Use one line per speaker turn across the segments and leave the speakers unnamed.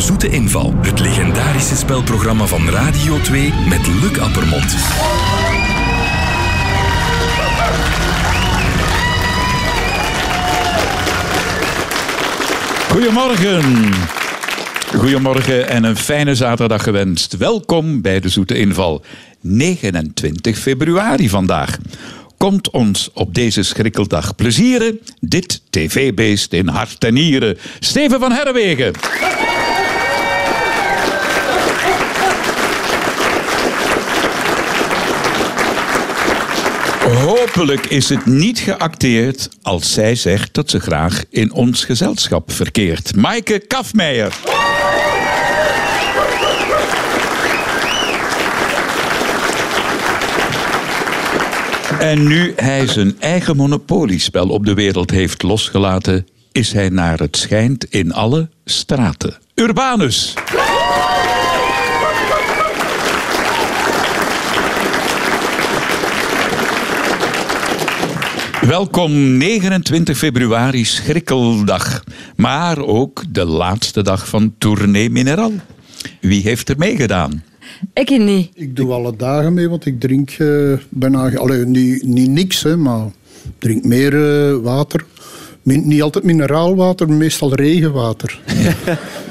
Festival. Het legendarische spelprogramma van Radio 2 met Luc Appermond.
Goedemorgen. Goedemorgen en een fijne zaterdag gewenst. Welkom bij de Zoete Inval. 29 februari vandaag. Komt ons op deze schrikkeldag plezieren. Dit tv-beest in hart en nieren. Steven van Herrewegen. Hopelijk is het niet geacteerd als zij zegt dat ze graag in ons gezelschap verkeert. Maaike Kafmeijer. En nu hij zijn eigen monopoliespel op de wereld heeft losgelaten, is hij naar het schijnt in alle straten. Urbanus. Welkom 29 februari, schrikkeldag. Maar ook de laatste dag van Tournee Mineral. Wie heeft er meegedaan?
Ik niet.
Ik doe alle dagen mee, want ik drink eh, bijna... Allee, niet, niet niks, hè, maar ik drink meer eh, water. Min- niet altijd mineraalwater, maar meestal regenwater.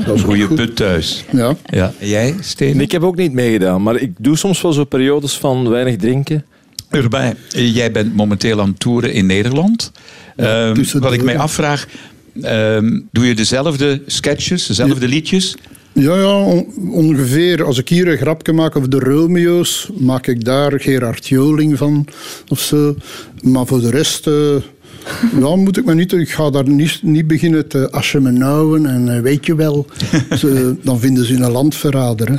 dat is ook
Goeie
goed.
put thuis.
Ja.
Ja. En Jij, Steven?
En ik heb ook niet meegedaan, maar ik doe soms wel zo periodes van weinig drinken.
Erbij. Eh, Jij bent momenteel aan het toeren in Nederland. Ehm,
tussendoor.
wat ik mij afvraag, ehm, doe je dezelfde sketches, dezelfde liedjes?
Ja, ja, on- ongeveer. Als ik hier een grapje maak over de Romeo's, maak ik daar Gerard Joling van of zo. Maar voor de rest, eh ja, moet ik me niet... Ik ga daar niet, niet beginnen te aschemenauwen en eh, weet je wel. Ze- dan vinden ze je een landverrader. Hè.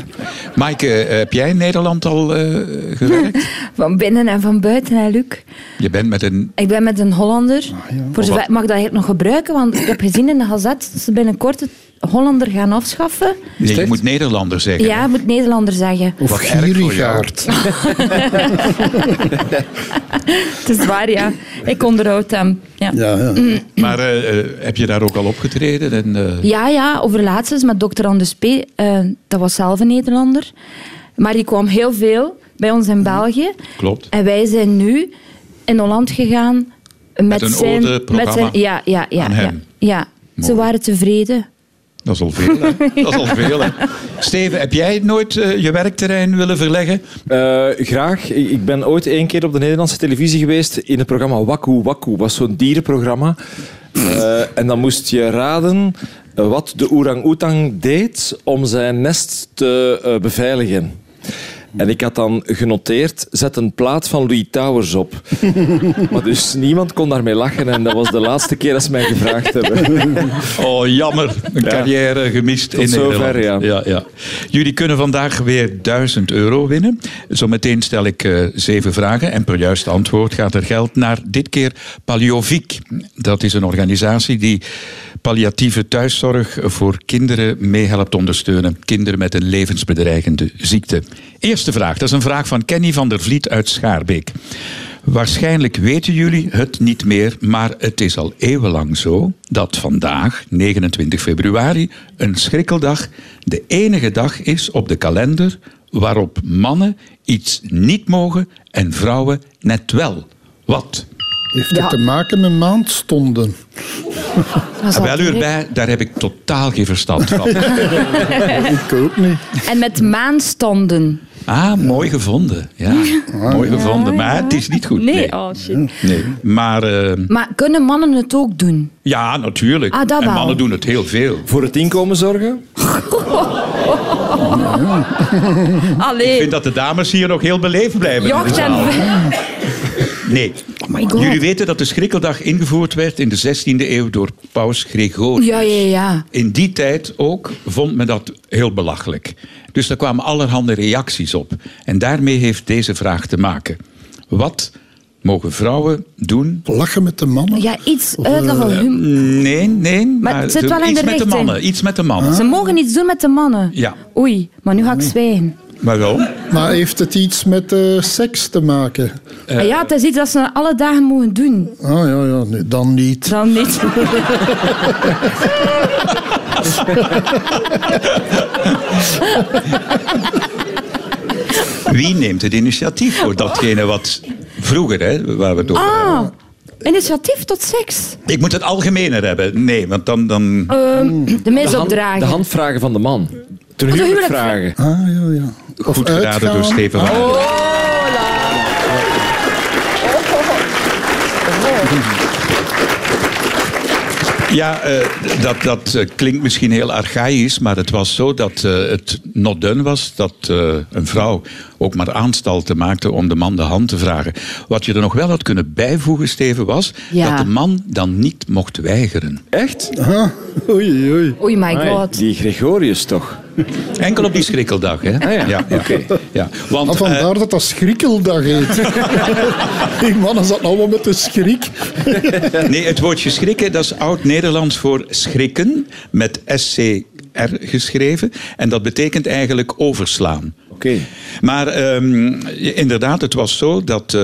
Maaike, eh, heb jij in Nederland al eh, gewerkt?
Van binnen en van buiten, hè, Luc.
Je bent met een...
Ik ben met een Hollander. Voor zover, ik mag dat hier nog gebruiken? Want ik heb gezien in de gazet dat ze binnenkort het Hollander gaan afschaffen.
Nee, je
echt?
moet Nederlander zeggen.
Ja, je moet Nederlander zeggen.
Of
Wat erg voor jou.
Gierigaard.
Het is waar, ja. Ik onderhoud hem. Ja.
Ja, ja.
Maar eh, eh, heb je daar ook al opgetreden? En, eh,
Ja, ja, over laatst eens met dokter Anders P. eh, dat was zelf een Nederlander. Maar die kwam heel veel bij ons in België.
Klopt.
En wij zijn nu in Holland gegaan met,
een
zijn,
ode-programma
Ja, ja, ja.
aan
ja,
hem.
ja. Ze
Mooi.
waren tevreden.
Dat is al veel, hè? Dat is al veel, hè? Steven, heb jij nooit eh, je werkterrein willen verleggen?
Eh, graag. Ik ik ben ooit één keer op de Nederlandse televisie geweest in het programma Waku Waku. was zo'n dierenprogramma. Eh, en dan moest je raden eh, wat de orang-oetang deed om zijn nest te eh, beveiligen. En ik had dan genoteerd, zet een plaat van Louis Towers op. maar dus niemand kon daarmee lachen en dat was de laatste keer dat ze mij gevraagd hebben.
Oh, jammer. Een carrière gemist in
zover,
Nederland.
ja.
Ja, Jullie kunnen vandaag weer 1000 euro winnen. Zometeen stel ik eh, zeven vragen. En per juiste antwoord gaat er geld naar dit keer Paliovic. Dat is een organisatie die palliatieve thuiszorg voor kinderen meehelpt ondersteunen. Kinderen met een levensbedreigende ziekte. Eerste vraag. Dat is een vraag van Kenny van der Vliet uit Schaarbeek. Waarschijnlijk weten jullie het niet meer, maar het is al eeuwenlang zo dat vandaag, 29 februari, een schrikkeldag, de enige dag is op de kalender waarop mannen iets niet mogen en vrouwen net wel. Wat?
Heeft
Ja.
het te maken met maandstonden?
Dat is
Ah, Wel
altijd-
erbij, daar heb ik totaal geen verstand van.
Ik ook niet.
En met maanstanden.
Ah, mooi gevonden. Ja, mooi gevonden. Maar het is niet goed.
Nee,
Nee.
oh shit.
Nee. Maar eh,
Maar kunnen mannen het ook doen?
ja, natuurlijk.
Ah, dat
en
wel.
mannen doen het heel veel.
Voor het inkomen zorgen?
Ik
Allee,
vind dat de dames hier nog heel beleefd blijven. in de
jocht en... Oh
zaal. Nee.
my God.
Jullie weten dat de schrikkeldag ingevoerd werd in de 16e eeuw door paus Gregorius.
Ja, ja, ja.
In die tijd ook vond men dat heel belachelijk. Dus daar kwamen allerhande reacties op. En daarmee heeft deze vraag te maken. Wat mogen vrouwen doen?
Lachen met de mannen?
Ja, iets uitleggen.
Eh,
Hum-
Nee, nee. Maar,
het zit wel in
iets
de
met de
richting.
mannen. Iets met de mannen.
Ze mogen iets doen met de mannen.
Ja.
Oei, maar nu ga ik zwijgen.
Maar wel.
Maar heeft het iets met eh, seks te maken?
Eh,
Ah ja, het is iets dat ze alle dagen mogen doen.
Ah ja, ja nee, dan niet.
Dan niet.
Wie neemt het initiatief voor datgene wat vroeger, hè, waar we het over hebben?
Oh. Ah, initiatief tot seks.
Ik moet het algemener hebben. Nee, want dan... dan...
Ehm, de
De,
mes
hand-
opdragen.
de handvragen van de man. Toen huwelijk
huwelijk
vragen.
Ah, ja, ja. Of
Goed geraden
uitgaan. Ah, Oh.
door Steven van Aarden. Ja, eh, dat, dat eh, klinkt misschien heel archaïs, maar het was zo dat eh, het not done was dat eh, een vrouw ook maar aanstalten maakte om de man de hand te vragen. Wat je er nog wel had kunnen bijvoegen, Steven, was
Ja.
dat de man dan niet mocht weigeren.
Echt?
Ah, oei, oei.
Oei, my
Amai,
god.
Die Gregorius toch?
Enkel op die schrikkeldag, hè?
Ah ja,
ja.
oké.
Ja. Want,
Ah,
eh,
vandaar dat dat schrikkeldag heet. Die mannen zat allemaal met de schrik.
Nee, het woordje schrikken, dat is oud-Nederlands voor schrikken, met SCR geschreven. En dat betekent eigenlijk overslaan.
Oké.
Maar ehm, inderdaad, het was zo dat eh,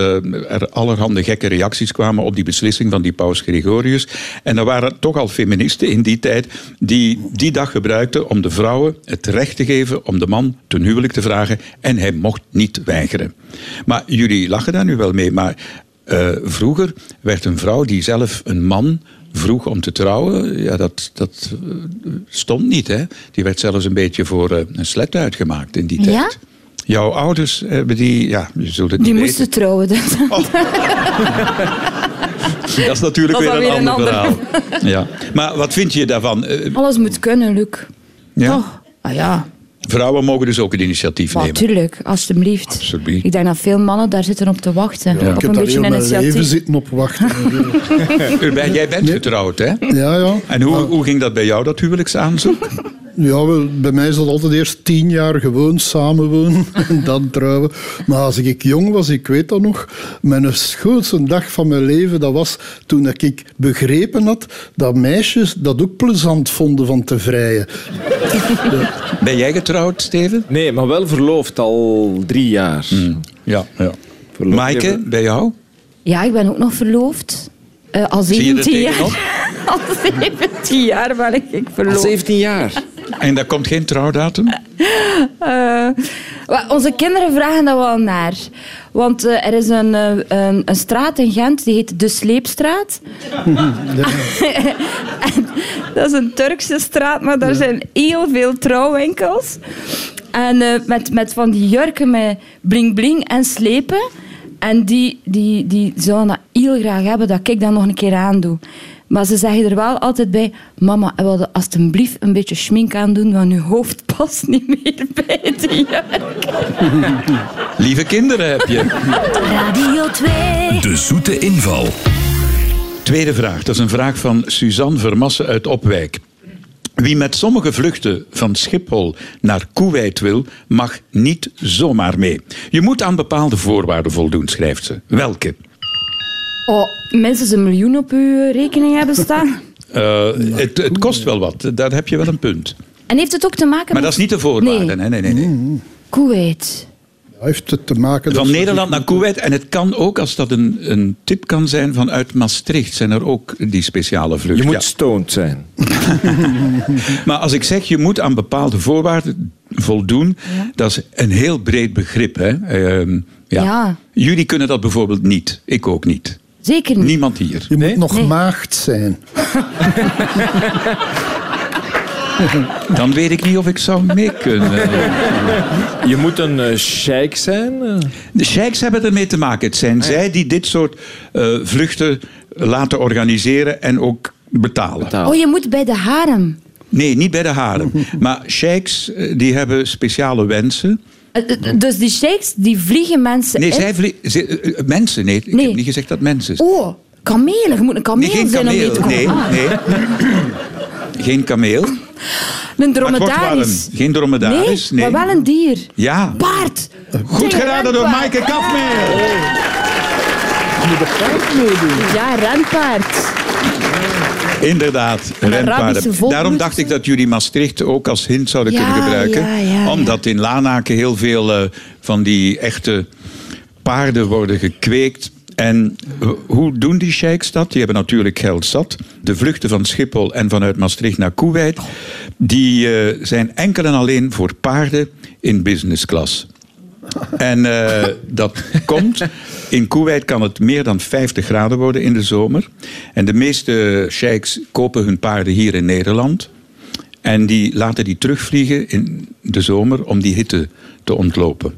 er allerhande gekke reacties kwamen op die beslissing van die paus Gregorius. En er waren toch al feministen in die tijd die die dag gebruikten om de vrouwen het recht te geven om de man ten huwelijk te vragen. En hij mocht niet weigeren. Maar jullie lachen daar nu wel mee, maar eh, vroeger werd een vrouw die zelf een man vroeg om te trouwen, ja, dat, dat eh, stond niet. Hè? Die werd zelfs een beetje voor eh, een slet uitgemaakt in die tijd.
Ja?
Jouw ouders eh, hebben die, ja, je zult het Oh.
Die
niet
moesten trouwen. Dus.
weten. Dat is natuurlijk
Dat is
weer,
dan
een
weer
ander
een
verhaal. Ja. Maar wat vind je daarvan? Eh,
Alles moet kunnen, Luc.
ja?
Toch? Ah ja,
Vrouwen mogen dus ook het initiatief nemen.
natuurlijk, alstublieft.
Absoluut.
Ik denk dat veel mannen daar zitten op te wachten.
Ik
Op
heb
een
daar
beetje
heel
een
mijn leven
initiatief.
zitten op wachten.
Urbijn, Jij bent getrouwd, hè?
Ja, ja.
En hoe, hoe ging dat bij jou, dat huwelijksaanzoek?
Ja, wel, bij mij is dat altijd eerst tien jaar gewoon samenwonen en dan trouwen. Maar als ik jong was, ik weet dat nog, mijn schoonste dag van mijn leven, dat was toen dat ik begrepen had dat meisjes dat ook plezant vonden van te vrijen.
Ben jij getrouwd, Steven?
Nee, maar wel verloofd al drie jaar.
Ja. ja.
Hmm. Verloofd
Maaike,
even.
bij jou?
Ja, ik ben ook nog verloofd. Eh al
Zie je er
17 jaar.
tegenop?
Al 17 jaar ben ik- ik
Al
verloofd.
17 jaar.
En daar komt geen trouwdatum?
Eh, wel, onze kinderen vragen dat wel naar. Want eh, er is een, eh, een, een straat in Gent, die heet De Sleepstraat. En dat is een Turkse straat, maar daar zijn heel veel trouwwinkels. En eh, met, met van die jurken met bling-bling en slepen. En die, die, die zouden dat heel graag hebben, dat ik dat nog een keer aandoe. Maar ze zeggen er wel altijd bij... Mama, wil je alsjeblieft een beetje schmink aandoen, want je hoofd past niet meer bij die jurk.
Lieve kinderen heb je.
Radio 2.
De zoete inval.
Tweede vraag. Dat is een vraag van Suzanne Vermassen uit Opwijk. Wie met sommige vluchten van Schiphol naar Koeweit wil, mag niet zomaar mee. Je moet aan bepaalde voorwaarden voldoen, schrijft ze. Welke?
Oh, mensen ze een miljoen op uw eh, rekening hebben staan.
Eh, het, het kost wel wat, daar heb je wel een punt.
En heeft het ook te maken met...
Maar dat is niet de voorwaarde.
Nee.
hè? Nee, nee, nee.
Kuwait.
Ja, heeft het te maken... dat
Van
ze-
Nederland naar Kuwait. En het kan ook, als dat een, een tip kan zijn, vanuit Maastricht zijn er ook die speciale
Je
vluchten.
moet
Dus Ja.
stoned zijn.
Maar als ik zeg je moet aan bepaalde voorwaarden voldoen, dat is een heel breed begrip. Hè? Ehm, ja.
Ja.
Jullie kunnen dat bijvoorbeeld niet. Ik ook niet.
Zeker niet.
Niemand hier.
Je moet nog maagd zijn.
Dan weet ik niet of ik zou mee kunnen.
Je moet een eh sheik zijn. eh.
De sheiks hebben ermee te maken. Het zijn zij die dit soort eh, vluchten laten organiseren en ook betalen.
Oh, je moet bij de harem.
Nee, niet bij de haren. Maar sheiks eh, die hebben speciale wensen.
Eh, eh, Dus die sheiks, die vliegen mensen
Nee,
in.
zij vlie- ze- eh, eh, mensen. Nee, ik
Nee.
heb niet gezegd dat mensen. zijn.
Oh, kamelen. Je moet een kameel
Nee, geen
zijn om mee
kameel.
te komen.
Nee,
Ah,
nee. Geen kameel.
Ah, Een
Maar het wordt
dromedaris.
warm. Geen dromedaris. Nee,
maar wel een dier.
Ja.
Paard.
Goed
Tegen
geraden door
renpaard.
Maaike Kafmeel.
Ja, renpaard.
Inderdaad,
Een Arabische
renpaarden.
volk
Daarom
moet
dacht
het
ik dat jullie Maastricht ook als hint zouden
Ja,
kunnen gebruiken.
ja, ja, ja.
omdat in Lanaken heel veel eh, van die echte paarden worden gekweekt. En eh, hoe doen die sheiks dat? Die hebben natuurlijk geld zat. De vluchten van Schiphol en vanuit Maastricht naar Kuwait, die eh, zijn enkel en alleen voor paarden in business class. En eh, dat komt. In Koeweit kan het meer dan 50 graden worden in de zomer. En de meeste sheiks kopen hun paarden hier in Nederland. En die laten die terugvliegen in de zomer om die hitte te ontlopen.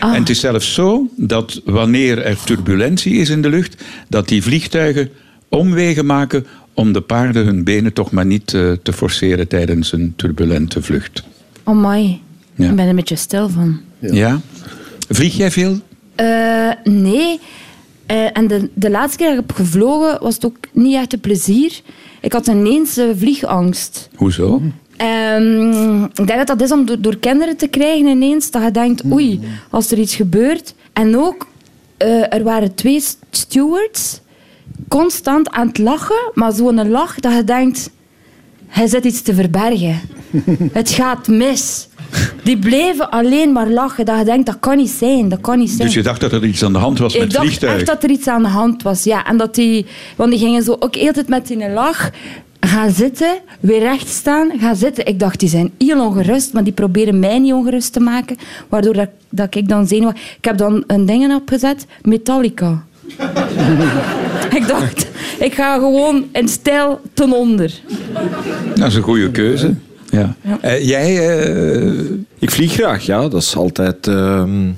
En het is zelfs zo dat wanneer er turbulentie is in de lucht, dat die vliegtuigen omwegen maken om de paarden hun benen toch maar niet eh, te forceren tijdens een turbulente vlucht.
Oh my,
Ja.
ik ben er een beetje stil van.
Ja? Vlieg jij veel?
Eh, nee. Eh, en de, de laatste keer dat ik heb gevlogen was het ook niet echt een plezier. Ik had ineens eh, vliegangst.
Hoezo?
Ehm, ik denk dat dat is om door, door kinderen te krijgen ineens, dat je denkt, oei, als er iets gebeurt. En ook, eh, er waren twee st- stewards constant aan het lachen, maar zo'n lach dat je denkt, hij zit iets te verbergen. het gaat mis. Die bleven alleen maar lachen, dat je denkt, dat kan niet zijn, dat kan niet zijn.
Dus je dacht dat er iets aan de hand was
Ik
met
dacht
vliegtuigen?
echt dat er iets aan de hand was. Ja. En dat die, want die gingen zo ook altijd met die lach gaan zitten, weer recht staan, gaan zitten. Ik dacht, die zijn heel ongerust, maar die proberen mij niet ongerust te maken. Waardoor dat, dat ik dan zenuwachtig... Ik heb dan een ding opgezet, Metallica. ik dacht, ik ga gewoon in stijl ten onder.
Dat is een goede keuze. Ja. Eh, jij eh,
Ik vlieg graag, ja. Dat is altijd... ehm,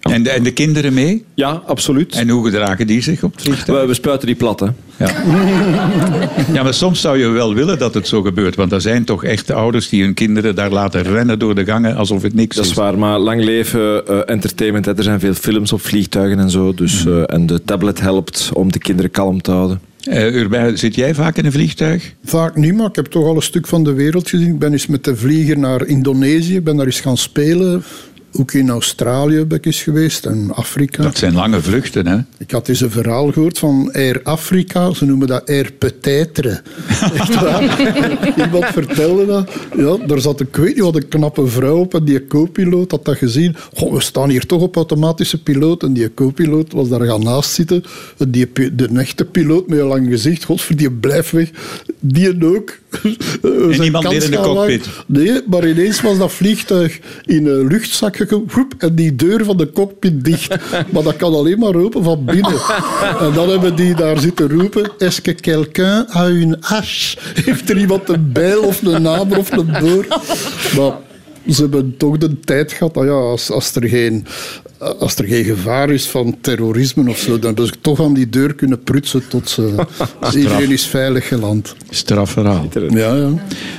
en, de, en de kinderen mee?
ja, absoluut.
En hoe gedragen die zich op het vliegtuig?
we, we spuiten die plat, hè.
Ja, maar soms zou je wel willen dat het zo gebeurt. Want er zijn toch echt ouders die hun kinderen daar laten rennen door de gangen alsof het niks
Dat is
is.
waar, maar lang leven, eh, entertainment. Hè. Er zijn veel films op vliegtuigen en zo. Dus,
Mhm.
eh, en de tablet helpt om de kinderen kalm te houden.
Eh, Urbain, zit jij vaak in een vliegtuig?
Vaak niet, maar ik heb toch al een stuk van de wereld gezien. Ik ben eens met de vlieger naar Indonesië, ben daar eens gaan spelen. Ook in Australië ben ik eens geweest en Afrika.
Dat zijn lange vluchten, hè?
Ik had eens een verhaal gehoord van Air Africa. Ze noemen dat Air Petitre. Echt waar? Iemand vertelde dat. Ja, daar zat een, ik weet niet wat een knappe vrouw op en die co-piloot had dat gezien. Goh, we staan hier toch op automatische piloot. En die co-piloot was daar gaan naast zitten. En die, pi- de echte piloot met een lang gezicht. Godverdien, blijf weg. Die ook. En
niemand meer in de cockpit.
Nee, maar ineens was dat vliegtuig in een luchtzak gekomen en die deur van de cockpit dicht. Maar dat kan alleen maar open van binnen. En dan hebben die daar zitten roepen: Est-ce que quelqu'un a une hache? Heeft er iemand een bijl of een naber of een boor? Maar ze hebben toch de tijd gehad. Nou ja, als, als, er geen, als er geen gevaar is van terrorisme of zo, dan hebben ze toch aan die deur kunnen prutsen tot ze, dus iedereen is veilig geland.
Strafverhaal.
Ja, ja.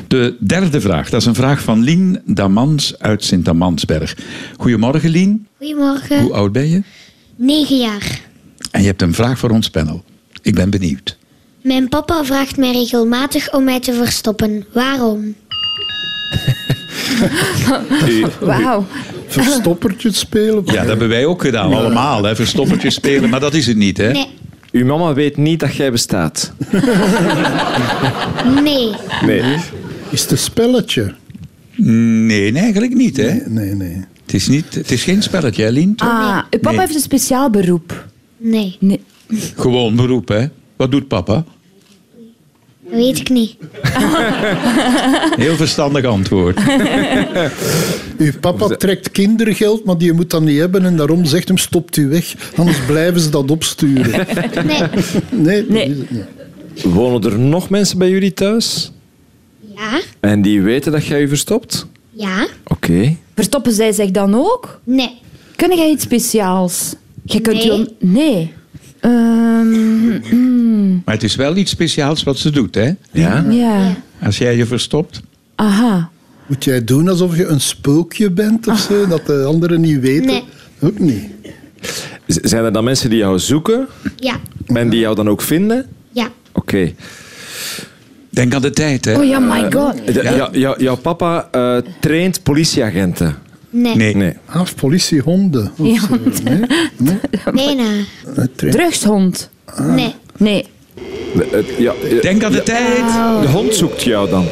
De derde vraag, dat is een vraag van Lien Damans uit Sint-Amansberg. Goedemorgen, Lien. Hoe
Eh.
Goedemorgen.
oud ben je?
9 jaar.
En je hebt een vraag voor ons panel. Ik ben benieuwd.
Mijn papa vraagt mij regelmatig om mij te verstoppen. Waarom?
Wauw.
Verstoppertjes spelen.
Ja, dat hebben wij ook gedaan, allemaal. Hè. Verstoppertjes spelen, maar dat is het niet, hè?
Nee.
Uw mama weet niet dat jij bestaat.
Nee.
Nee.
Is het een spelletje?
Nee, nee, eigenlijk niet, hè?
Nee, nee.
Het is, niet, het is geen spelletje, hè, Lien? toch?
Ah, uw papa
Nee.
heeft een speciaal beroep.
Nee.
Nee.
Gewoon beroep, hè? Wat doet papa?
Weet ik niet.
Heel verstandig antwoord.
Uw papa trekt kindergeld, maar die moet dat niet hebben en daarom zegt hem stopt u weg, anders blijven ze dat opsturen.
Nee.
Nee, dat
Nee.
is het niet.
Wonen er nog mensen bij jullie thuis?
Ja.
En die weten dat jij je verstopt?
Ja.
Oké.
Verstoppen zij zich dan ook?
Nee.
Kun jij iets speciaals? Je kunt
Nee.
je on- Nee. Ehm, mm,
Maar het is wel iets speciaals wat ze doet, hè?
Ja?
ja.
Als jij je verstopt.
Aha.
Moet jij doen alsof je een spookje bent of
Oh.
zo, dat de anderen niet weten?
Nee.
Ook niet.
Z- Zijn er dan mensen die jou zoeken
Ja.
en die jou dan ook vinden?
Ja.
Oké.
Denk aan de tijd, hè?
Oh ja, my god.
De- jou- jou- jouw papa eh, traint politieagenten.
Nee.
Nee.
Nee.
Ah, of politiehonden. Of zo. Nee? Nee?
Bijna.
Een trein-
Drugshond.
Ah.
Nee.
Nee.
De- het- ja, eh,
Denk aan de tijd.
de hond zoekt jou dan.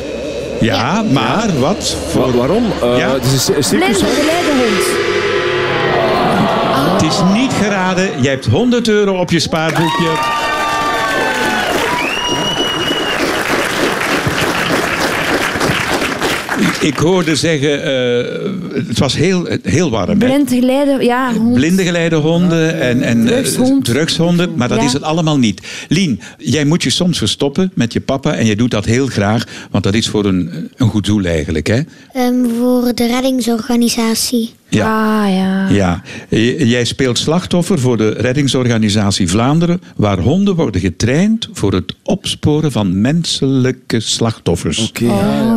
Ja, maar wat?
Wa- waarom? Eh,
Ja.
Het is een cir- circus.
Blinde, de leidenhond.
Die is niet geraden. Jij hebt 100 euro op je spaarboekje. Ik hoorde zeggen, eh, het was heel, heel warm. hè?
Blind geleiden, ja. hond.
Blinde geleidehonden en, en eh,
Drugshond.
drugshonden, maar dat
Ja.
is het allemaal niet. Lien, jij moet je soms verstoppen met je papa en jij doet dat heel graag, want dat is voor een, een goed doel eigenlijk. Hè?
Ehm, voor de reddingsorganisatie.
Ja.
Ah, ja.
Ja, J- jij speelt slachtoffer voor de reddingsorganisatie Vlaanderen, waar honden worden getraind voor het opsporen van menselijke slachtoffers.
Oké.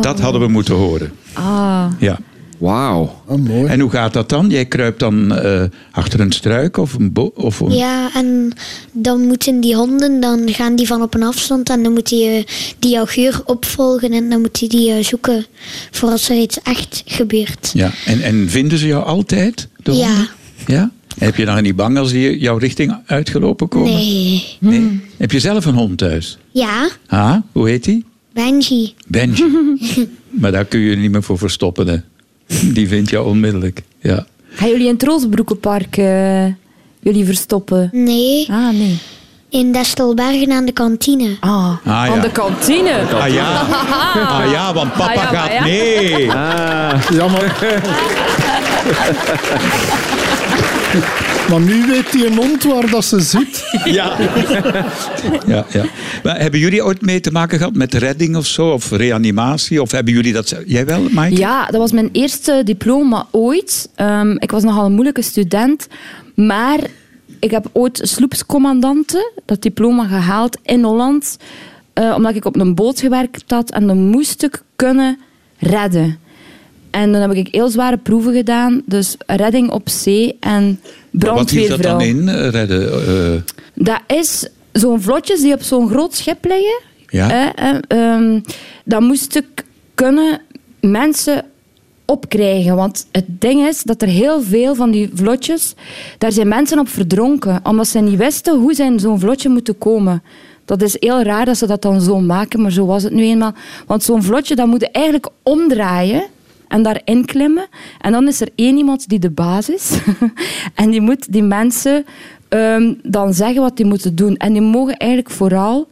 Dat hadden we moeten horen.
Ah.
Ja.
Wauw.
Ah, mooi.
En hoe gaat dat dan? Jij kruipt dan eh, achter een struik of een, bo- of een
Ja, en dan moeten die honden, dan gaan die van op een afstand en dan moet die, eh, die jouw geur opvolgen en dan moet die die eh, zoeken voor als er iets echt gebeurt.
Ja, en, en vinden ze jou altijd? de
Ja.
honden? ja. Heb je dan niet bang als die jouw richting uitgelopen komen?
Nee.
Nee? Heb je zelf een hond thuis?
Ja,
Ah, hoe heet die?
Benji.
Benji. maar daar kun je je niet meer voor verstoppen. Hè. Die vindt jou onmiddellijk. Ja.
Gaan jullie in het Roosbroekenpark eh, jullie verstoppen?
Nee,
Ah, nee.
in Destelbergen aan de kantine.
Ah,
ja.
aan de kantine.
Ah ja. ah ja, want papa
Ah ja, maar
gaat
ja. Ah.
mee.
Jammer. maar nu weet die hond waar dat ze zit.
Ja. ja, ja. Maar hebben jullie ooit mee te maken gehad met redding of zo? Of reanimatie? Of hebben jullie dat... ze- Jij wel, Mike?
Ja, dat was mijn eerste diploma ooit. Ehm, ik was nogal een moeilijke student, maar ik heb ooit sloepscommandante, dat diploma gehaald in Holland, eh, omdat ik op een boot gewerkt had en dan moest ik kunnen redden. En dan heb ik heel zware proeven gedaan, dus redding op zee en brandweervrouw.
Wat hield dat dan in, eh, redden? eh?
Dat is zo'n vlotjes die op zo'n groot schip liggen.
Ja.
Eh, eh, ehm, dan moest ik kunnen mensen opkrijgen. Want het ding is dat er heel veel van die vlotjes... Daar zijn mensen op verdronken. Omdat ze niet wisten hoe ze in zo'n vlotje moeten komen. Dat is heel raar dat ze dat dan zo maken. Maar zo was het nu eenmaal. Want zo'n vlotje, dat moet je eigenlijk omdraaien en daarin klimmen. En dan is er één iemand die de baas is. en die moet die mensen ehm, dan zeggen wat die moeten doen. En die mogen eigenlijk vooral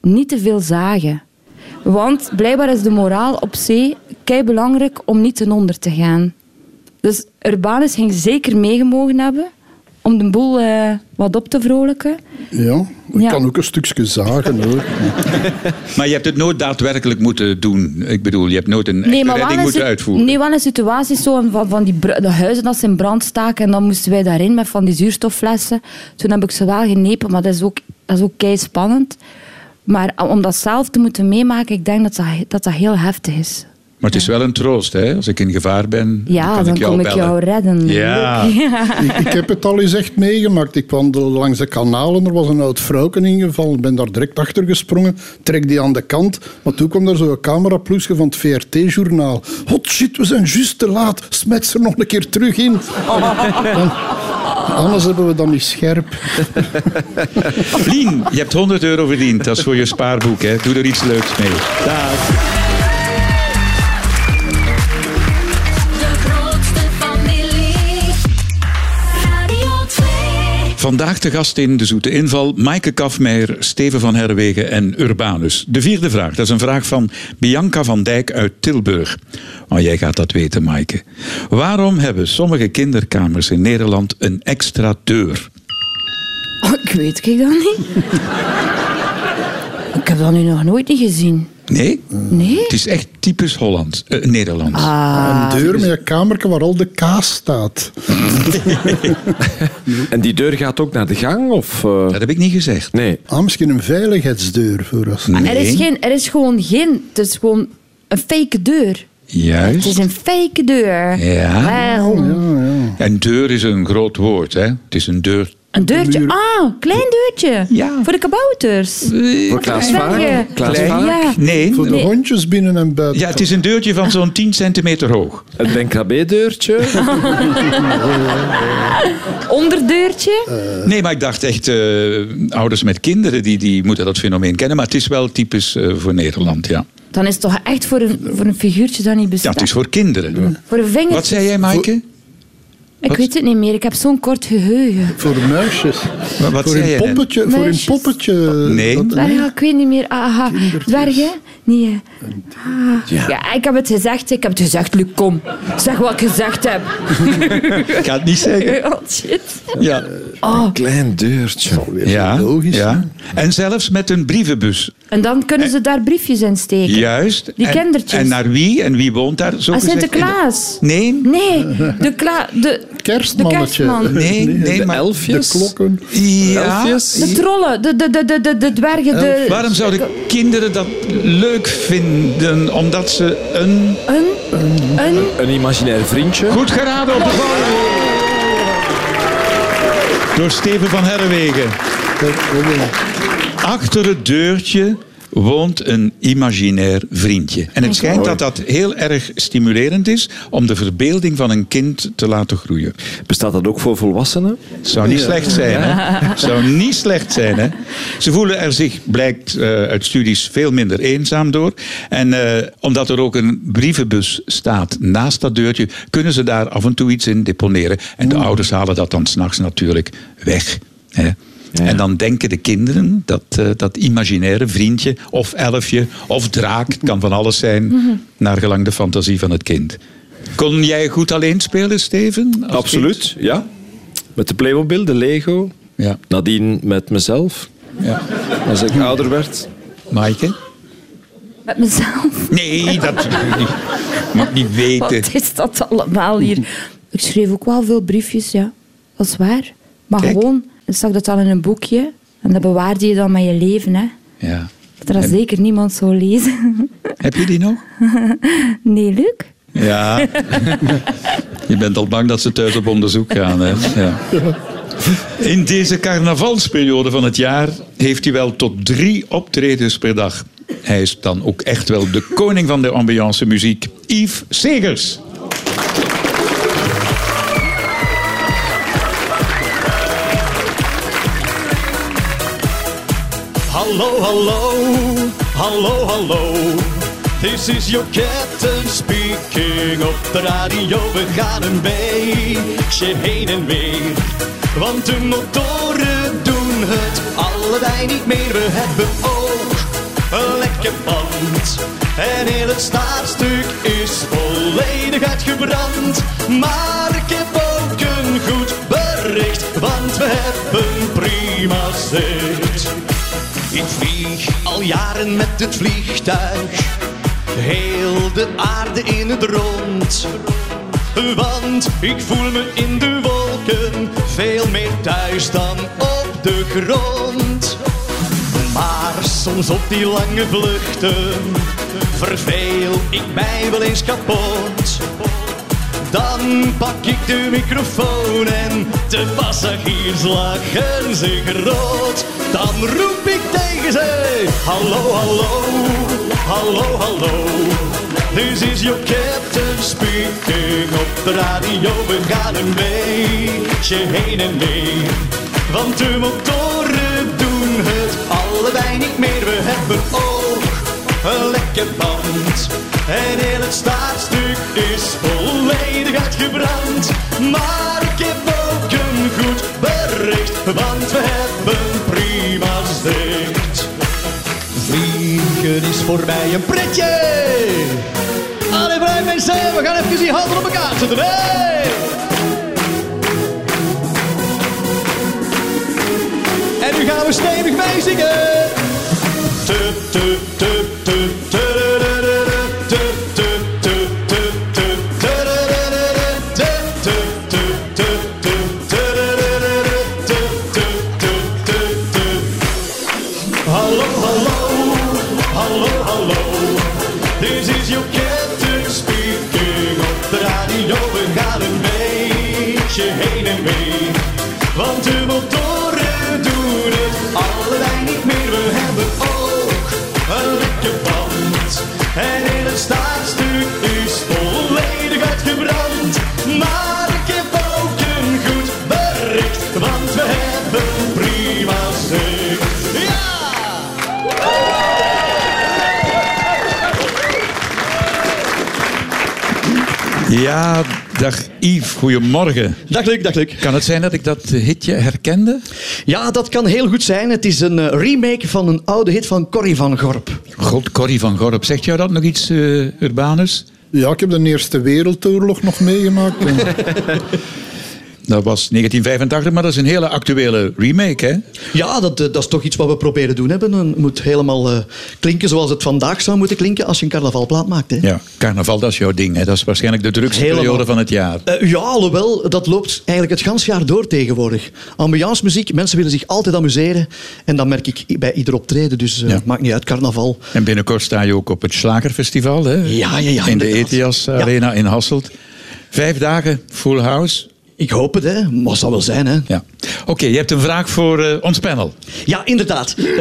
niet te veel zagen. Want blijkbaar is de moraal op zee kei belangrijk om niet ten onder te gaan. Dus Urbanus ging zeker meegemogen hebben om de boel eh, wat op te vrolijken.
Ja, ik
Ja.
kan ook een stukje zagen hoor.
Maar je hebt het nooit daadwerkelijk moeten doen. Ik bedoel, je hebt nooit een
Nee,
echte
maar
redding
wel
moeten
een situ-
uitvoeren.
Nee, wel een situatie zo van, van die br- de huizen dat ze in brand staken. En dan moesten wij daarin met van die zuurstofflessen. Toen heb ik ze wel genepen, maar dat is ook, dat is ook kei spannend. Maar om dat zelf te moeten meemaken, ik denk dat dat, dat, dat heel heftig is.
Maar het is wel een troost, hè? Als ik in gevaar ben,
Ja,
kan
dan
ik jou
kom ik
bellen.
jou redden.
Ja.
Leuk.
ik, ik heb het al eens echt meegemaakt. Ik wandelde langs de kanalen, er was een oud vrouwken ingevallen. Ik ben daar direct achter gesprongen, trek die aan de kant. Maar toen kwam daar zo'n cameraploesje van het VRT-journaal. Hot shit, we zijn juist te laat. Smet ze er nog een keer terug in. Dan- anders hebben we dan niet scherp.
Lien, je hebt 100 euro verdiend. Dat is voor je spaarboek, hè? Doe er iets leuks mee.
De grootste familie. Radio 2.
Vandaag de gast in De Zoete Inval, Maaike Kafmeijer, Steven van Herwegen en Urbanus. De vierde vraag, dat is een vraag van Bianca van Dijk uit Tilburg. Oh, jij gaat dat weten, Maaike. Waarom hebben sommige kinderkamers in Nederland een extra deur?
Oh, ik weet ik dat niet. ik heb dat nu nog nooit niet gezien.
Nee?
Nee?
Het is echt typisch Holland, eh, Nederland. Ah,
Een
dus-
deur met een kamerke waar al de kaas staat.
En die deur gaat ook naar de gang? Of, eh,
Dat heb ik niet gezegd.
Nee.
Ah, misschien een veiligheidsdeur voor ons.
Nee.
Er, is geen, er is gewoon geen... Het is gewoon een fake deur. Het
Juist.
is een fake deur.
Ja.
Wel.
En deur is een groot woord, hè? Het is een deur.
Een deurtje. Ah, een klein deurtje.
Ja.
Voor de kabouters.
Voor Klaas
Klein.
Vaak? Klaas
Klein.
Vaak?
Ja.
Nee.
Voor de
Nee.
hondjes binnen en buiten.
Ja, het is een deurtje van zo'n 10 centimeter hoog.
Het Ben Krabbe-deurtje?
Onderdeurtje.
Nee, maar ik dacht echt, eh, ouders met kinderen die, die moeten dat fenomeen kennen. Maar het is wel typisch eh, voor Nederland, ja.
Dan is het toch echt voor een, voor een figuurtje dat niet
Ja,
bestaat.
het is voor kinderen.
Voor een vinger.
Wat zei jij, Maaike?
Ik
Wat?
weet het niet meer. Ik heb zo'n kort geheugen.
Voor de muisjes.
Maar wat
voor
zei je
een
net?
poppetje. Voor een
Muisjes.
poppetje.
Nee.
Dwergen, ik weet niet meer. Aha. Dwergen? Nee. hè. Ah. Ja. ik heb het gezegd. Ik heb het gezegd, Luc, kom. Zeg wat ik gezegd heb.
Ik ga het niet zeggen.
Oh, shit.
Ja.
Oh.
Klein deurtje.
Ja,
logisch,
ja. En zelfs met een brievenbus.
En dan kunnen ze daar briefjes in steken.
Juist.
Die
en,
kindertjes.
En naar wie en wie woont daar? Zo
Ah,
gezegd in de-
Sinterklaas.
Nee,
Nee, de, kla de,
Kerstmannetje.
de kerstman.
nee, nee.
De
maar...
elfjes?
De klokken.
Ja.
Elfjes?
De trollen, de, de, de, de, de, de dwergen, de...
Waarom zouden kinderen dat leuk vinden? Omdat ze een...
Een, een...
Een imaginair vriendje.
Goed geraden op de bal. Door Steven van Herrewegen. Achter het deurtje woont een imaginair vriendje. En het schijnt dat dat heel erg stimulerend is om de verbeelding van een kind te laten groeien.
Bestaat dat ook voor volwassenen?
Zou niet slecht zijn, hè? Zou niet slecht zijn, hè? Ze voelen er zich, blijkt eh, uit studies, veel minder eenzaam door. En eh, omdat er ook een brievenbus staat naast dat deurtje, kunnen ze daar af en toe iets in deponeren. En de ouders halen dat dan s'nachts natuurlijk weg. Hè? En dan denken de kinderen dat eh, dat imaginaire vriendje of elfje of draak, het kan van alles zijn, naar gelang de fantasie van het kind. Kon jij goed alleen spelen, Steven? als
Absoluut,
kind?
ja. Met de Playmobil, de Lego.
Ja.
Nadien met mezelf,
ja.
als ik ouder werd.
Maaike?
Met mezelf.
Nee, dat mag niet weten.
Wat is dat allemaal hier? Ik schreef ook wel veel briefjes, ja. Dat is waar. Maar
Kijk.
gewoon, dan stak dat dan in een boekje. En dat bewaarde je dan met je leven, hè.
Ja.
Dat er zeker niemand zou lezen.
Heb je die nog?
Nee, Luc?
Ja. je bent al bang dat ze thuis op onderzoek gaan. Hè? Ja. In deze carnavalsperiode van het jaar heeft hij wel tot drie optredens per dag. Hij is dan ook echt wel de koning van de ambiance muziek, Yves Segers.
Hallo, hallo, hallo, hallo. This is your captain speaking op de radio. We gaan een beetje heen en weer. Want de motoren doen het allebei niet meer. We hebben ook een lekker band. En heel het staartstuk is volledig uitgebrand. Maar ik heb ook een goed bericht. Want we hebben prima zicht. Ik vlieg al jaren met het vliegtuig, heel de aarde in het rond. Want ik voel me in de wolken veel meer thuis dan op de grond. Maar soms op die lange vluchten verveel ik mij wel eens kapot. Dan pak ik de microfoon en de passagiers lachen zich rood. Dan roep ik tegen ze: Hallo, hallo, hallo, hallo. This is your captain speaking op de radio. We gaan een beetje heen en weer, want de motoren doen het allebei niet meer. We hebben oog een lekker band. En heel het staartstuk is volledig uitgebrand. Maar ik heb ook een goed bericht, want we hebben prima zicht. Vliegen is voor mij een pretje. Alle vrij mensen, we gaan even die handen op elkaar zetten. Hey! En nu gaan we stevig meezingen. Hallo, hallo, hallo, hallo. Dit is jouw captain speaking op de radio. We gaan een beetje heen en weer. Want de motoren doen het allebei niet meer. We hebben ook een lekker band. En in het staartstuk is volledig uitgebrand. Maar ik heb ook een goed bericht. Want we hebben prima zicht. Ja!
Ja, Dag Yves, goedemorgen.
Dag Luc, dag Luc.
Kan het zijn dat ik dat hitje herkende?
Ja, dat kan heel goed zijn. Het is een eh, remake van een oude hit van Corrie van Gorp.
God, Corrie van Gorp, zegt jou dat nog iets, eh, Urbanus?
Ja, ik heb de Eerste Wereldoorlog nog meegemaakt. En
Dat was 1985, maar dat is een hele actuele remake, hè?
Ja, dat, eh, dat is toch iets wat we proberen doen hebben. Het moet helemaal eh, klinken zoals het vandaag zou moeten klinken als je een carnavalplaat maakt. Hè?
Ja, carnaval, dat is jouw ding, hè? Dat is waarschijnlijk de drukste
Helemaal.
periode van het jaar.
Eh, ja, alhoewel, dat loopt eigenlijk het ganse jaar door tegenwoordig. Ambiance muziek, mensen willen zich altijd amuseren. En dat merk ik i- bij ieder optreden, dus eh,
Ja.
maakt niet uit, carnaval.
En binnenkort sta je ook op het Slagerfestival, hè?
Ja, ja, ja,
In de
inderdaad.
ETIAS
Ja.
Arena in Hasselt. Vijf dagen, full house.
Ik hoop het, hè. Maar het zal wel zijn, hè.
Ja. Oké, je hebt een vraag voor eh, ons panel.
Ja, inderdaad. Eh,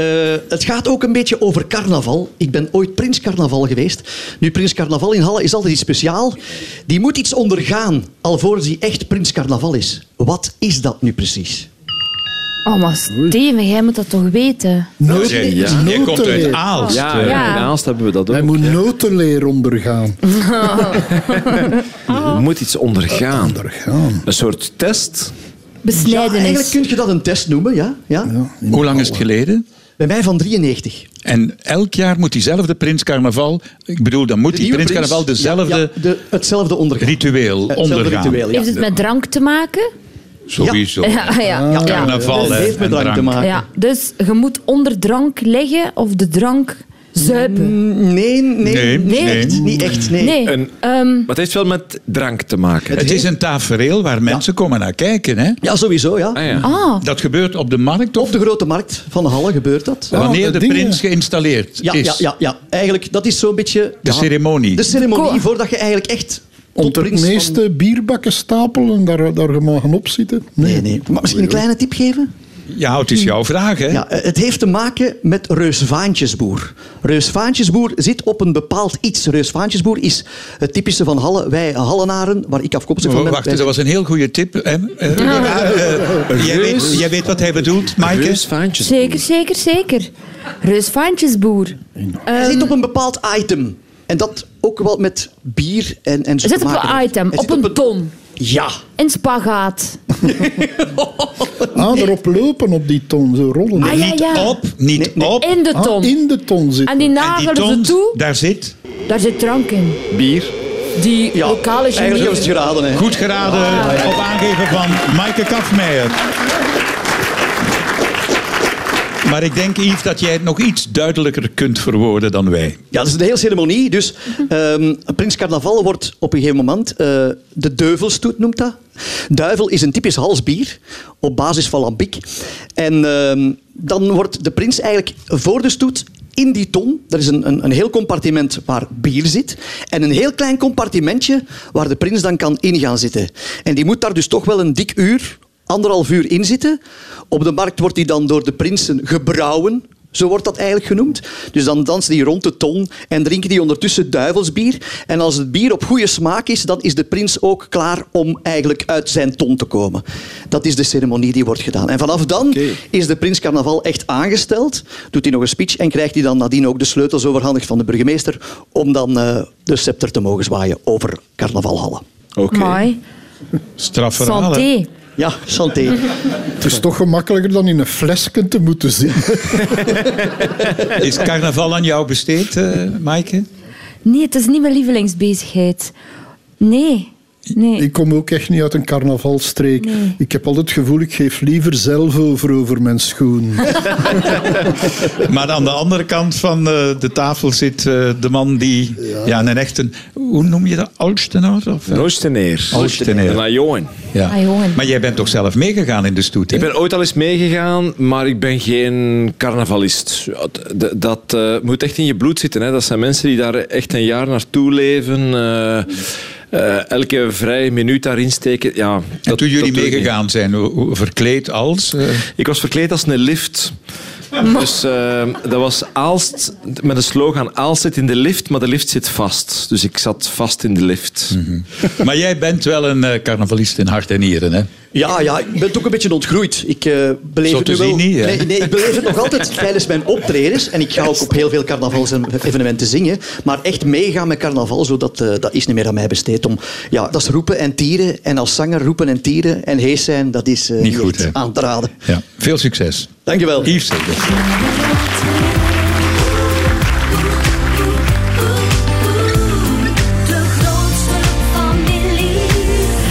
het gaat ook een beetje over carnaval. Ik ben ooit Prins Carnaval geweest. Nu, Prins Carnaval in Halle is altijd iets speciaal. Die moet iets ondergaan, alvorens die echt Prins Carnaval is. Wat is dat nu precies?
Oh, maar Steven, jij moet dat toch weten?
noten,
ja.
Jij komt uit
notenleer.
Aalst.
Ja,
eh.
ja, daarnaast hebben we dat ook.
Hij moet notenleer ondergaan.
Oh.
Er moet iets ondergaan.
Ondergaan.
Een soort test.
Ja, eigenlijk
Besnijdenis.
kun je dat een test noemen, ja. ja.
Hoe lang is het geleden?
Bij mij van 93.
En elk jaar moet diezelfde Prins Carnaval, ik bedoel, dan moet die
nieuwe
Prins Carnaval
prins-
dezelfde
Ja, ja, de, hetzelfde ondergaan.
ritueel
Hetzelfde
ondergaan.
ritueel, ja.
Heeft het met drank te maken?
Sowieso.
Ja, ja.
Ja,
ja.
Carnaval,
Het
hè,
heeft met
en
drank te
drank.
maken.
ja. Dus je moet onder drank liggen of de drank zuipen.
Nee, nee,
Nee,
nee,
nee.
echt, niet echt. Nee.
Nee.
Een-
ehm,
Maar het heeft wel met drank te maken.
Het is een tafereel waar mensen komen naar kijken. Hè?
Ja, sowieso, ja.
Ah, ja.
ah,
Dat gebeurt op de markt
Op
of
de grote markt van Halle gebeurt dat.
wanneer
dat
de
ding,
prins
ja.
geïnstalleerd
Ja,
is.
ja, ja, ja, eigenlijk, dat is zo'n beetje...
De
ja,
ceremonie.
De ceremonie,
Cool.
voordat je eigenlijk echt... tot
Onder
prins
het
van-
meeste bierbakken stapelen en daar, daar mag gaan opzitten.
Nee, nee. Maar misschien een kleine tip geven?
ja, het is jouw vraag. Hè?
Ja, eh, het heeft te maken met Reusvaantjesboer. Reusvaantjesboer zit op een bepaald iets. Reusvaantjesboer is het typische van Halle. Wij Hallenaren, waar ik afkomstig van
Oh,
ben...
wacht,
wij-
dat was een heel goede tip. Hè? Eh, ja, eh, jij,
Reus.
weet, jij weet wat hij bedoelt, Maaike?
Reusvaantjes.
zeker, zeker, zeker. Reusvaantjesboer.
Hij
Ehm,
zit op een bepaald item. En dat ook wel met bier en, en zo
Zit
te
op
maken
een
heeft.
item,
Hij
op
zit
een ton.
Ja.
In spagaat.
Ah, erop lopen op die ton, zo rollen.
Ah, ja, ja.
Op, niet op.
In de
Ah,
ton.
in de ton
En
zitten.
die
En die
nagelen ze
tons,
toe.
daar zit.
Daar zit drank in.
Bier.
Die
ja.
lokale
Eigenlijk hebben
genie.
ze het geraden, hè.
Goed geraden
Ah,
op aangeven van Maaike Kafmeijer. Maar ik denk, Yves, dat jij het nog iets duidelijker kunt verwoorden dan wij.
Ja, dat is een hele ceremonie. Dus ehm, Prins Carnaval wordt op een gegeven moment eh, de duivelstoet, noemt dat. Duivel is een typisch halsbier op basis van lambiek. En ehm, dan wordt de prins eigenlijk voor de stoet in die ton. Er is een, een, een heel compartiment waar bier zit. En een heel klein compartimentje waar de prins dan kan in gaan zitten. En die moet daar dus toch wel een dik uur, anderhalf uur in zitten. Op de markt wordt die dan door de prinsen gebrouwen. Zo wordt dat eigenlijk genoemd. Dus dan dansen die rond de ton en drinken die ondertussen duivelsbier. En als het bier op goede smaak is, dan is de prins ook klaar om eigenlijk uit zijn ton te komen. Dat is de ceremonie die wordt gedaan. En vanaf dan is de prins carnaval echt aangesteld. Doet hij nog een speech en krijgt hij dan nadien ook de sleutels overhandigd van de burgemeester om dan eh, de scepter te mogen zwaaien over carnavalhallen.
Oké.
Mooi.
Strafverhalen.
Santé.
Ja, santé.
Het is toch gemakkelijker dan in een flesken te moeten zitten.
Is carnaval aan jou besteed, eh Maaike?
Nee, het is niet mijn lievelingsbezigheid. Nee. Nee.
Ik kom ook echt niet uit een carnavalstreek. Ik heb altijd het gevoel, ik geef liever zelf over over mijn schoen.
Maar aan de andere kant van eh, de tafel zit eh, de man die ja. een echte... Hoe noem je dat? Alstenaar? Of, eh,
Nooit te neer.
Oosteneer.
Naar jongen.
Ja.
Ah, jongen.
Maar jij bent toch zelf meegegaan in de stoet, hè?
Ik ben ooit al eens meegegaan, maar ik ben geen carnavalist. Ja, d- d- Dat eh, moet echt in je bloed zitten. Hè. Dat zijn mensen die daar echt een jaar naartoe leven. eh, eh, elke vrije minuut daarin steken. Ja,
En
dat-
toen jullie
dat doe ik niet.
meegegaan zijn, hoe- hoe- verkleed als... eh,
Ik was verkleed als een lift. Dus eh, dat was Aalst met een slogan: Aalst zit in de lift, maar de lift zit vast. Dus ik zat vast in de lift.
Mhm. Maar jij bent wel een eh, carnavalist in hart en nieren, hè?
Ja, ja, ik ben het ook een beetje ontgroeid. Ik eh, beleef
Zo
het
te
nu wel...
zien niet, hè?
nee, nee, ik beleef het nog altijd tijdens mijn optredens. En ik ga ook op heel veel carnavalsevenementen zingen. Maar echt meegaan met carnaval, zo dat, eh, dat is niet meer aan mij besteed. Om, ja, dat is roepen en tieren. En als zanger roepen en tieren en hees zijn, dat is eh,
Niet goed,
echt
hè?
aan te raden.
Ja. Veel succes.
Dankjewel.
Yves Segers.
De grootste familie,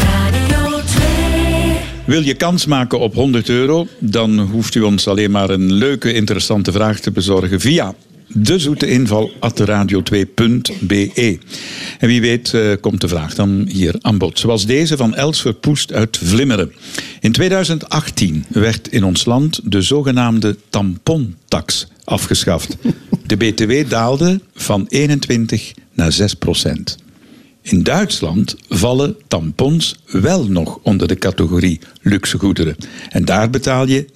Radio 2.
Wil je kans maken op 100 euro? Dan hoeft u ons alleen maar een leuke, interessante vraag te bezorgen via de zoete inval radio2.be. En wie weet eh, komt de vraag dan hier aan bod. Zoals deze van Els Verpoest uit Vlimmeren. In 2018 werd in ons land de zogenaamde tampontax afgeschaft. De BTW daalde van 21 naar 6 procent. In Duitsland vallen tampons wel nog onder de categorie luxegoederen. En daar betaal je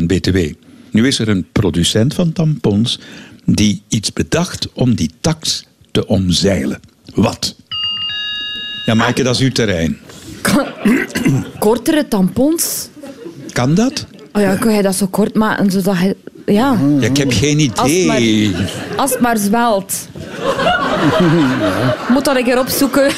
19% BTW. Nu is er een producent van tampons die iets bedacht om die tax te omzeilen. Wat? Ja, Maaike, dat is uw terrein.
Kortere tampons?
Kan dat?
Oh ja, kun je dat zo kort maken zodat je... Ja,
Ja, ik heb geen
als het maar,
idee.
als het maar zwelt. Moet dat een keer opzoeken.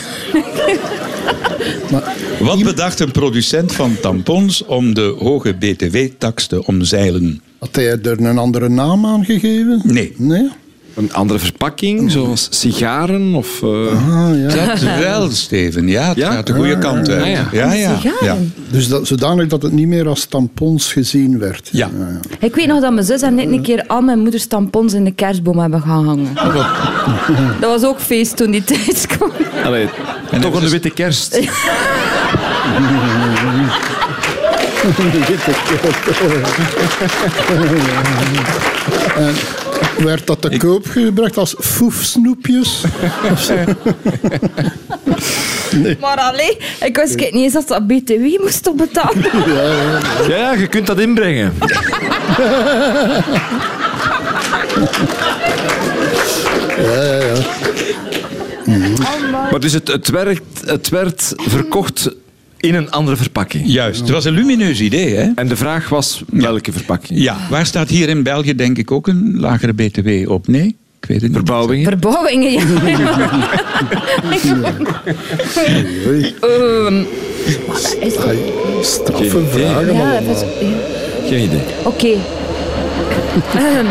Wat bedacht een producent van tampons om de hoge BTW-tax te omzeilen?
Had hij er een andere naam aan gegeven?
Nee.
Nee?
Een andere
Oh.
verpakking, zoals sigaren of. eh,
Ah, ja.
Dat wel, Steven. Ja, het
Ja?
gaat de goede kant uit.
ja.
Ja, ja. ja.
Sigaren.
Dus dat, zodanig dat het niet meer als tampons gezien werd.
Ja.
Ik weet nog dat mijn zus en ik een keer al mijn moeders tampons in de kerstboom hebben gaan hangen. Dat was ook feest toen die tijd kwam.
allee, toch een witte kerst.
Werd dat te koop gebracht als foefsnoepjes?
Maar alleen, ik wist niet eens dat dat BTW moest op betalen.
Ja, ja, je kunt dat inbrengen. Maar dus het, het, werkt, het werd verkocht in een andere verpakking.
Juist, het was een lumineus idee, hè?
En de vraag was welke verpakking?
Ja, waar staat hier in België denk ik ook een lagere btw op? Nee, ik weet het niet.
Verbouwingen?
Verbouwingen, ja. Ehm, is dat-
Straffe vragen
ja, dat
allemaal.
is- ja.
Geen idee.
Oké. Ehm,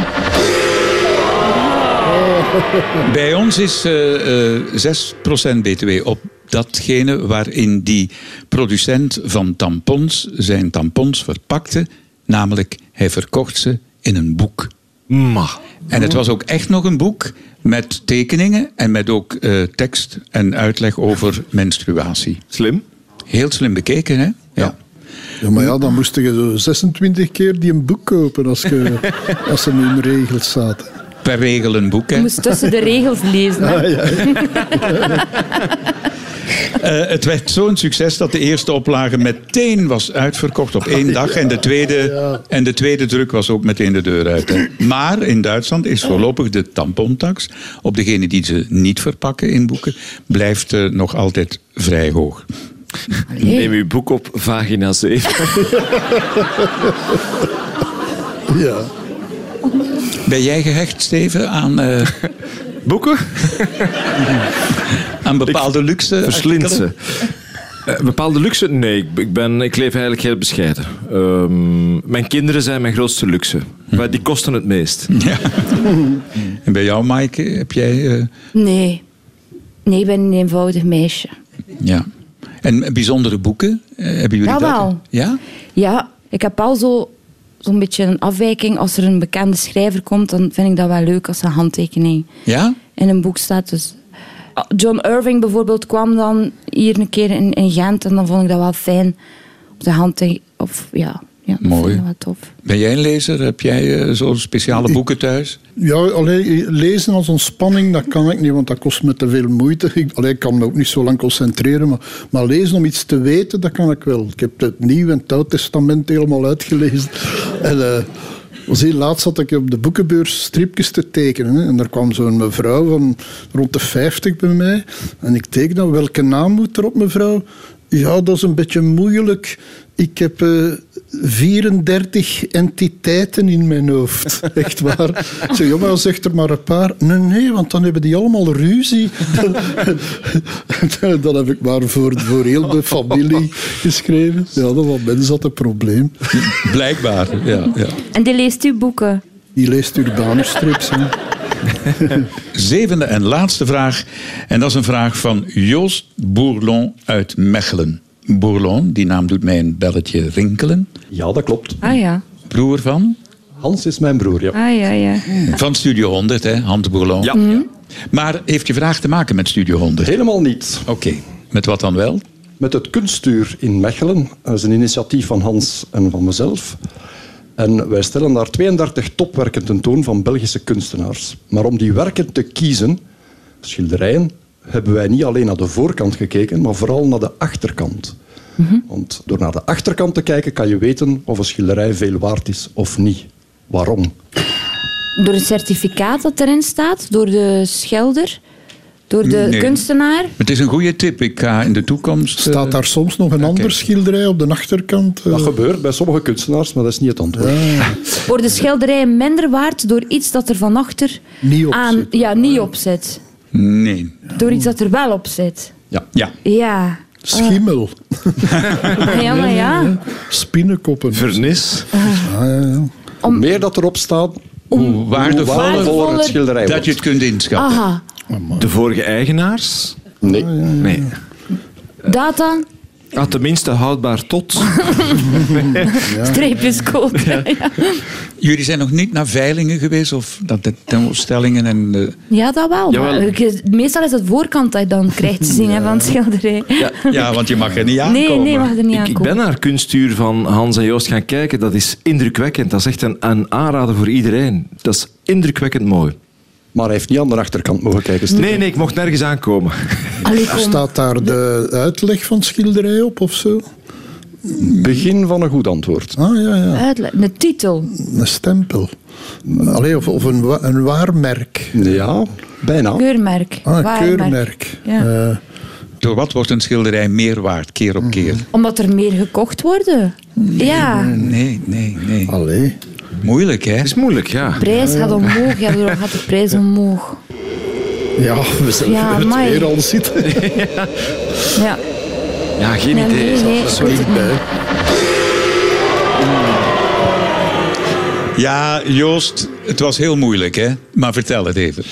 Bij ons is eh, eh, 6% btw op datgene waarin die producent van tampons zijn tampons verpakte. Namelijk, hij verkocht ze in een boek.
Maar.
En het was ook echt nog een boek met tekeningen en met ook eh, tekst en uitleg over menstruatie.
Slim.
Heel slim bekeken, hè? ja.
Ja, maar ja, dan moest je zo 26 keer die een boek kopen als, je, als er nu in regels zaten.
Per regel een boek,
je
hè?
moest tussen de regels lezen.
Ah.
Ah,
hè.
Eh, het werd zo'n succes dat de eerste oplage meteen was uitverkocht op één dag. En de tweede, en de tweede druk was ook meteen de deur uit. hè. Maar in Duitsland is voorlopig de tampontax op degenen die ze niet verpakken in boeken, blijft eh, nog altijd vrij hoog.
Neem uw boek op vagina 7.
Ja.
Ben jij gehecht, Steven, aan, eh,
Boeken?
aan bepaalde luxe?
Verslind ze.
artikelen?
Eh, bepaalde luxe? Nee, ik, ik ben, ik leef eigenlijk heel bescheiden. Ehm, mijn kinderen zijn mijn grootste luxe. Maar die kosten het meest.
Ja. En bij jou, Maaike, heb jij... eh,
Nee. Nee, ik ben een eenvoudig meisje.
ja. En bijzondere boeken? Eh, hebben jullie dat?
Jawel.
Ja?
Ja, ik heb al zo- zo'n beetje een afwijking. Als er een bekende schrijver komt, dan vind ik dat wel leuk als een handtekening
Ja?
in een boek staat. Dus John Irving bijvoorbeeld kwam dan hier een keer in, in Gent en dan vond ik dat wel fijn. Op de handtekening. Of ja, ja dat
Mooi.
vind ik wel tof.
Ben jij een lezer? Heb jij eh zo'n speciale boeken thuis?
Ja, allee, lezen als ontspanning, dat kan ik niet, want dat kost me te veel moeite. Ik, allee, ik kan me ook niet zo lang concentreren, maar, maar lezen om iets te weten, dat kan ik wel. Ik heb het Nieuw en het Oud Testament helemaal uitgelezen. En, eh, was heel laat zat ik op de boekenbeurs stripjes te tekenen. Hè. En daar kwam zo'n mevrouw van rond de 50 bij mij. En ik teken dan, welke naam moet erop, mevrouw? Ja, dat is een beetje moeilijk. Ik heb eh, 34 entiteiten in mijn hoofd. Echt waar. Ik zeg, jongen, zegt er maar een paar. Nee, nee, want dan hebben die allemaal ruzie. dan heb ik maar voor, voor heel de familie geschreven. Ja, dat was mensen had een probleem.
Blijkbaar, ja. ja.
En die leest uw boeken.
Die leest urbanerstrips. Hè.
Zevende en laatste vraag. En dat is een vraag van Joost Bourlon uit Mechelen. Bourlon, die naam doet mij een belletje rinkelen.
Ja, dat klopt.
Ah ja.
Broer van?
Hans is mijn broer, ja.
Ah ja, ja.
Van Studio 100, hè, Hans Bourlon.
Ja,
Maar heeft je vraag te maken met Studio 100? Oké,
helemaal niet.
met wat dan wel?
Met het kunstuur in Mechelen. Dat is een initiatief van Hans en van mezelf. En wij stellen daar 32 topwerken tentoon van Belgische kunstenaars. Maar om die werken te kiezen, schilderijen, hebben wij niet alleen naar de voorkant gekeken, maar vooral naar de achterkant. Want door naar de achterkant te kijken kan je weten of een schilderij veel waard is of niet. Waarom?
Door het certificaat dat erin staat, door de schilder, door de
Nee.
kunstenaar.
Het is een goede tip. Ik ga in de toekomst... eh,
Staat daar soms nog een ander schilderij op de achterkant? eh?
Dat gebeurt bij sommige kunstenaars, maar dat is niet het antwoord.
Worden schilderijen minder waard door iets dat er van achter
Niet op
aan,
zit.
ja, niet op zit?
Nee.
Door iets dat er wel op zit.
Ja.
Ja,
Ja.
Schimmel,
Ja, maar ja.
spinnenkoppen.
Vernis.
Ah, ja, ja.
Hoe meer dat erop staat,
hoe waardevoller
waardevoller het schilderij
dat
wordt.
je het kunt inschatten.
Aha.
De vorige eigenaars?
Nee.
Nee.
Data,
Ah, tenminste houdbaar tot.
streepjes code. Ja.
Jullie zijn nog niet naar veilingen geweest of dat de tentoonstellingen en... eh,
dat wel. maar
Jawel.
ik- meestal is het voorkant dat je dan krijgt te zien hè, van het schilderij.
ja, want je mag er niet aan.
nee, nee, mag er niet
Ik,
aan
ik ben naar kunstuur van Hans en Joost gaan kijken. Dat is indrukwekkend. Dat is echt een, een aanrader voor iedereen. Dat is indrukwekkend mooi.
maar hij heeft niet aan de achterkant mogen kijken. Steve.
Nee, nee, ik mocht nergens aankomen.
Allee, kom.
Staat daar de uitleg van het schilderij op of zo?
Begin van een goed antwoord.
Ah ja, ja.
Uitle- De titel.
Een stempel. Allee, of, of een, wa- een waarmerk.
Ja, bijna.
Keurmerk.
Ah, een
waarmerk.
keurmerk.
Ja.
Eh,
Door wat wordt een schilderij meer waard, keer op keer?
Omdat er meer gekocht worden. Ja,
Nee, nee, nee.
allee.
Moeilijk, hè?
Dat is moeilijk, ja.
prijs gaat omhoog. Ja, daarom gaat de prijs omhoog.
Ja, we zijn
Ja,
er
amai.
weer al zitten.
Ja.
Ja, geen
Nee,
idee.
nee, nee.
Ja, Joost, het was heel moeilijk, hè? Maar vertel het even.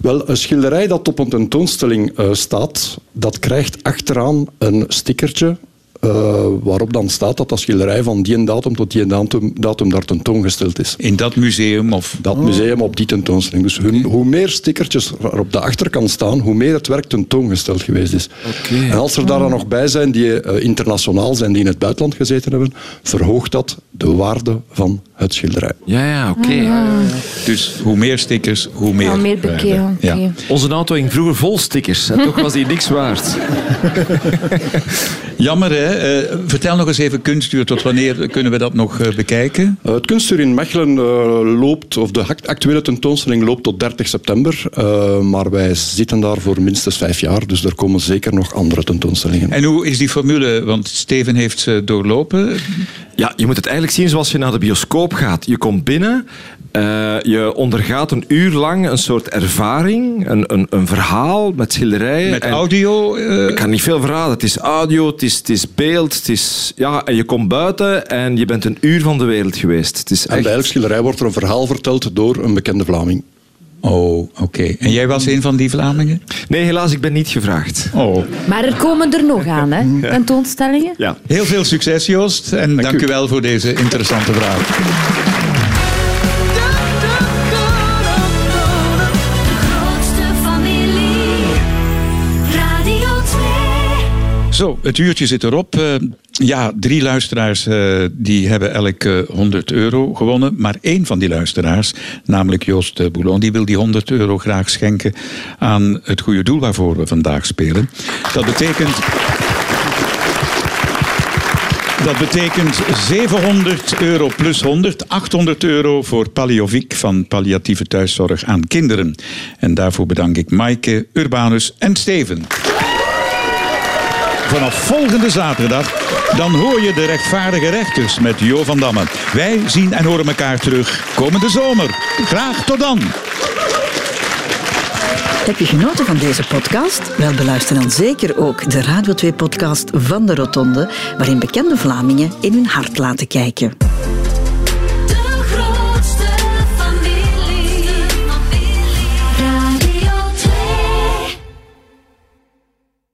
Wel, een schilderij dat op een tentoonstelling eh, staat, dat krijgt achteraan een stickertje eh, waarop dan staat dat dat schilderij van die en datum tot die en datum, datum daar tentoongesteld is.
In dat museum of...
Dat museum op die tentoonstelling. Dus hun- hoe meer stickertjes er op de achterkant staan, hoe meer het werk tentoongesteld geweest is.
Oké.
En als er daar dan nog bij zijn die eh, internationaal zijn, die in het buitenland gezeten hebben, verhoogt dat de waarde van het schilderij.
Ja, ja, oké.
Dus hoe meer stickers, hoe meer...
Ja, meer bekeken.
waarde. Ja.
oké.
Onze auto ging vroeger vol stickers. En toch was die niks waard.
Jammer, hè? Eh, vertel nog eens even kunstuur. Tot wanneer kunnen we dat nog eh, bekijken?
Eh, Het kunstuur in Mechelen eh, loopt, of de act- actuele tentoonstelling loopt tot 30 september. eh, maar wij zitten daar voor minstens vijf jaar, dus er komen zeker nog andere tentoonstellingen.
En hoe is die formule? Want Steven heeft ze doorlopen.
Ja, je moet het eigenlijk zien zoals je naar de bioscoop gaat. Je komt binnen, eh, je ondergaat een uur lang een soort ervaring, een, een, een verhaal met schilderijen.
Met
en-
audio. eh,
Ik kan niet veel verraden. Het is audio, het is, het is beeld, het is... Ja, en je komt buiten en je bent een uur van de wereld geweest. Het is
En
echt...
bij elk schilderij wordt er een verhaal verteld door een bekende Vlaming.
Oh, oké. En jij was een van die Vlamingen?
Nee, helaas, ik ben niet gevraagd.
Mm. Oh.
Maar er komen er nog aan, hè? Tentoonstellingen.
Ja.
Heel veel succes, Joost. En dank, u wel voor deze interessante vraag.
De grootste familie. Radio 2.
Zo, het uurtje zit erop. Eh, ja, drie luisteraars eh, die hebben elk eh, 100 euro gewonnen. Maar één van die luisteraars, namelijk Joost eh, Boulon, die wil die 100 euro graag schenken aan het goede doel waarvoor we vandaag spelen. Dat betekent Dat betekent 700 euro plus 100, 800 euro voor Paliovic van palliatieve thuiszorg aan kinderen. En daarvoor bedank ik Maaike, Urbanus en Steven. Vanaf volgende zaterdag, dan hoor je de rechtvaardige rechters met Jo van Damme. Wij zien en horen elkaar terug komende zomer. Graag tot dan.
Heb je genoten van deze podcast? Wel, beluister dan zeker ook de Radio 2-podcast van de Rotonde, waarin bekende Vlamingen in hun hart laten kijken.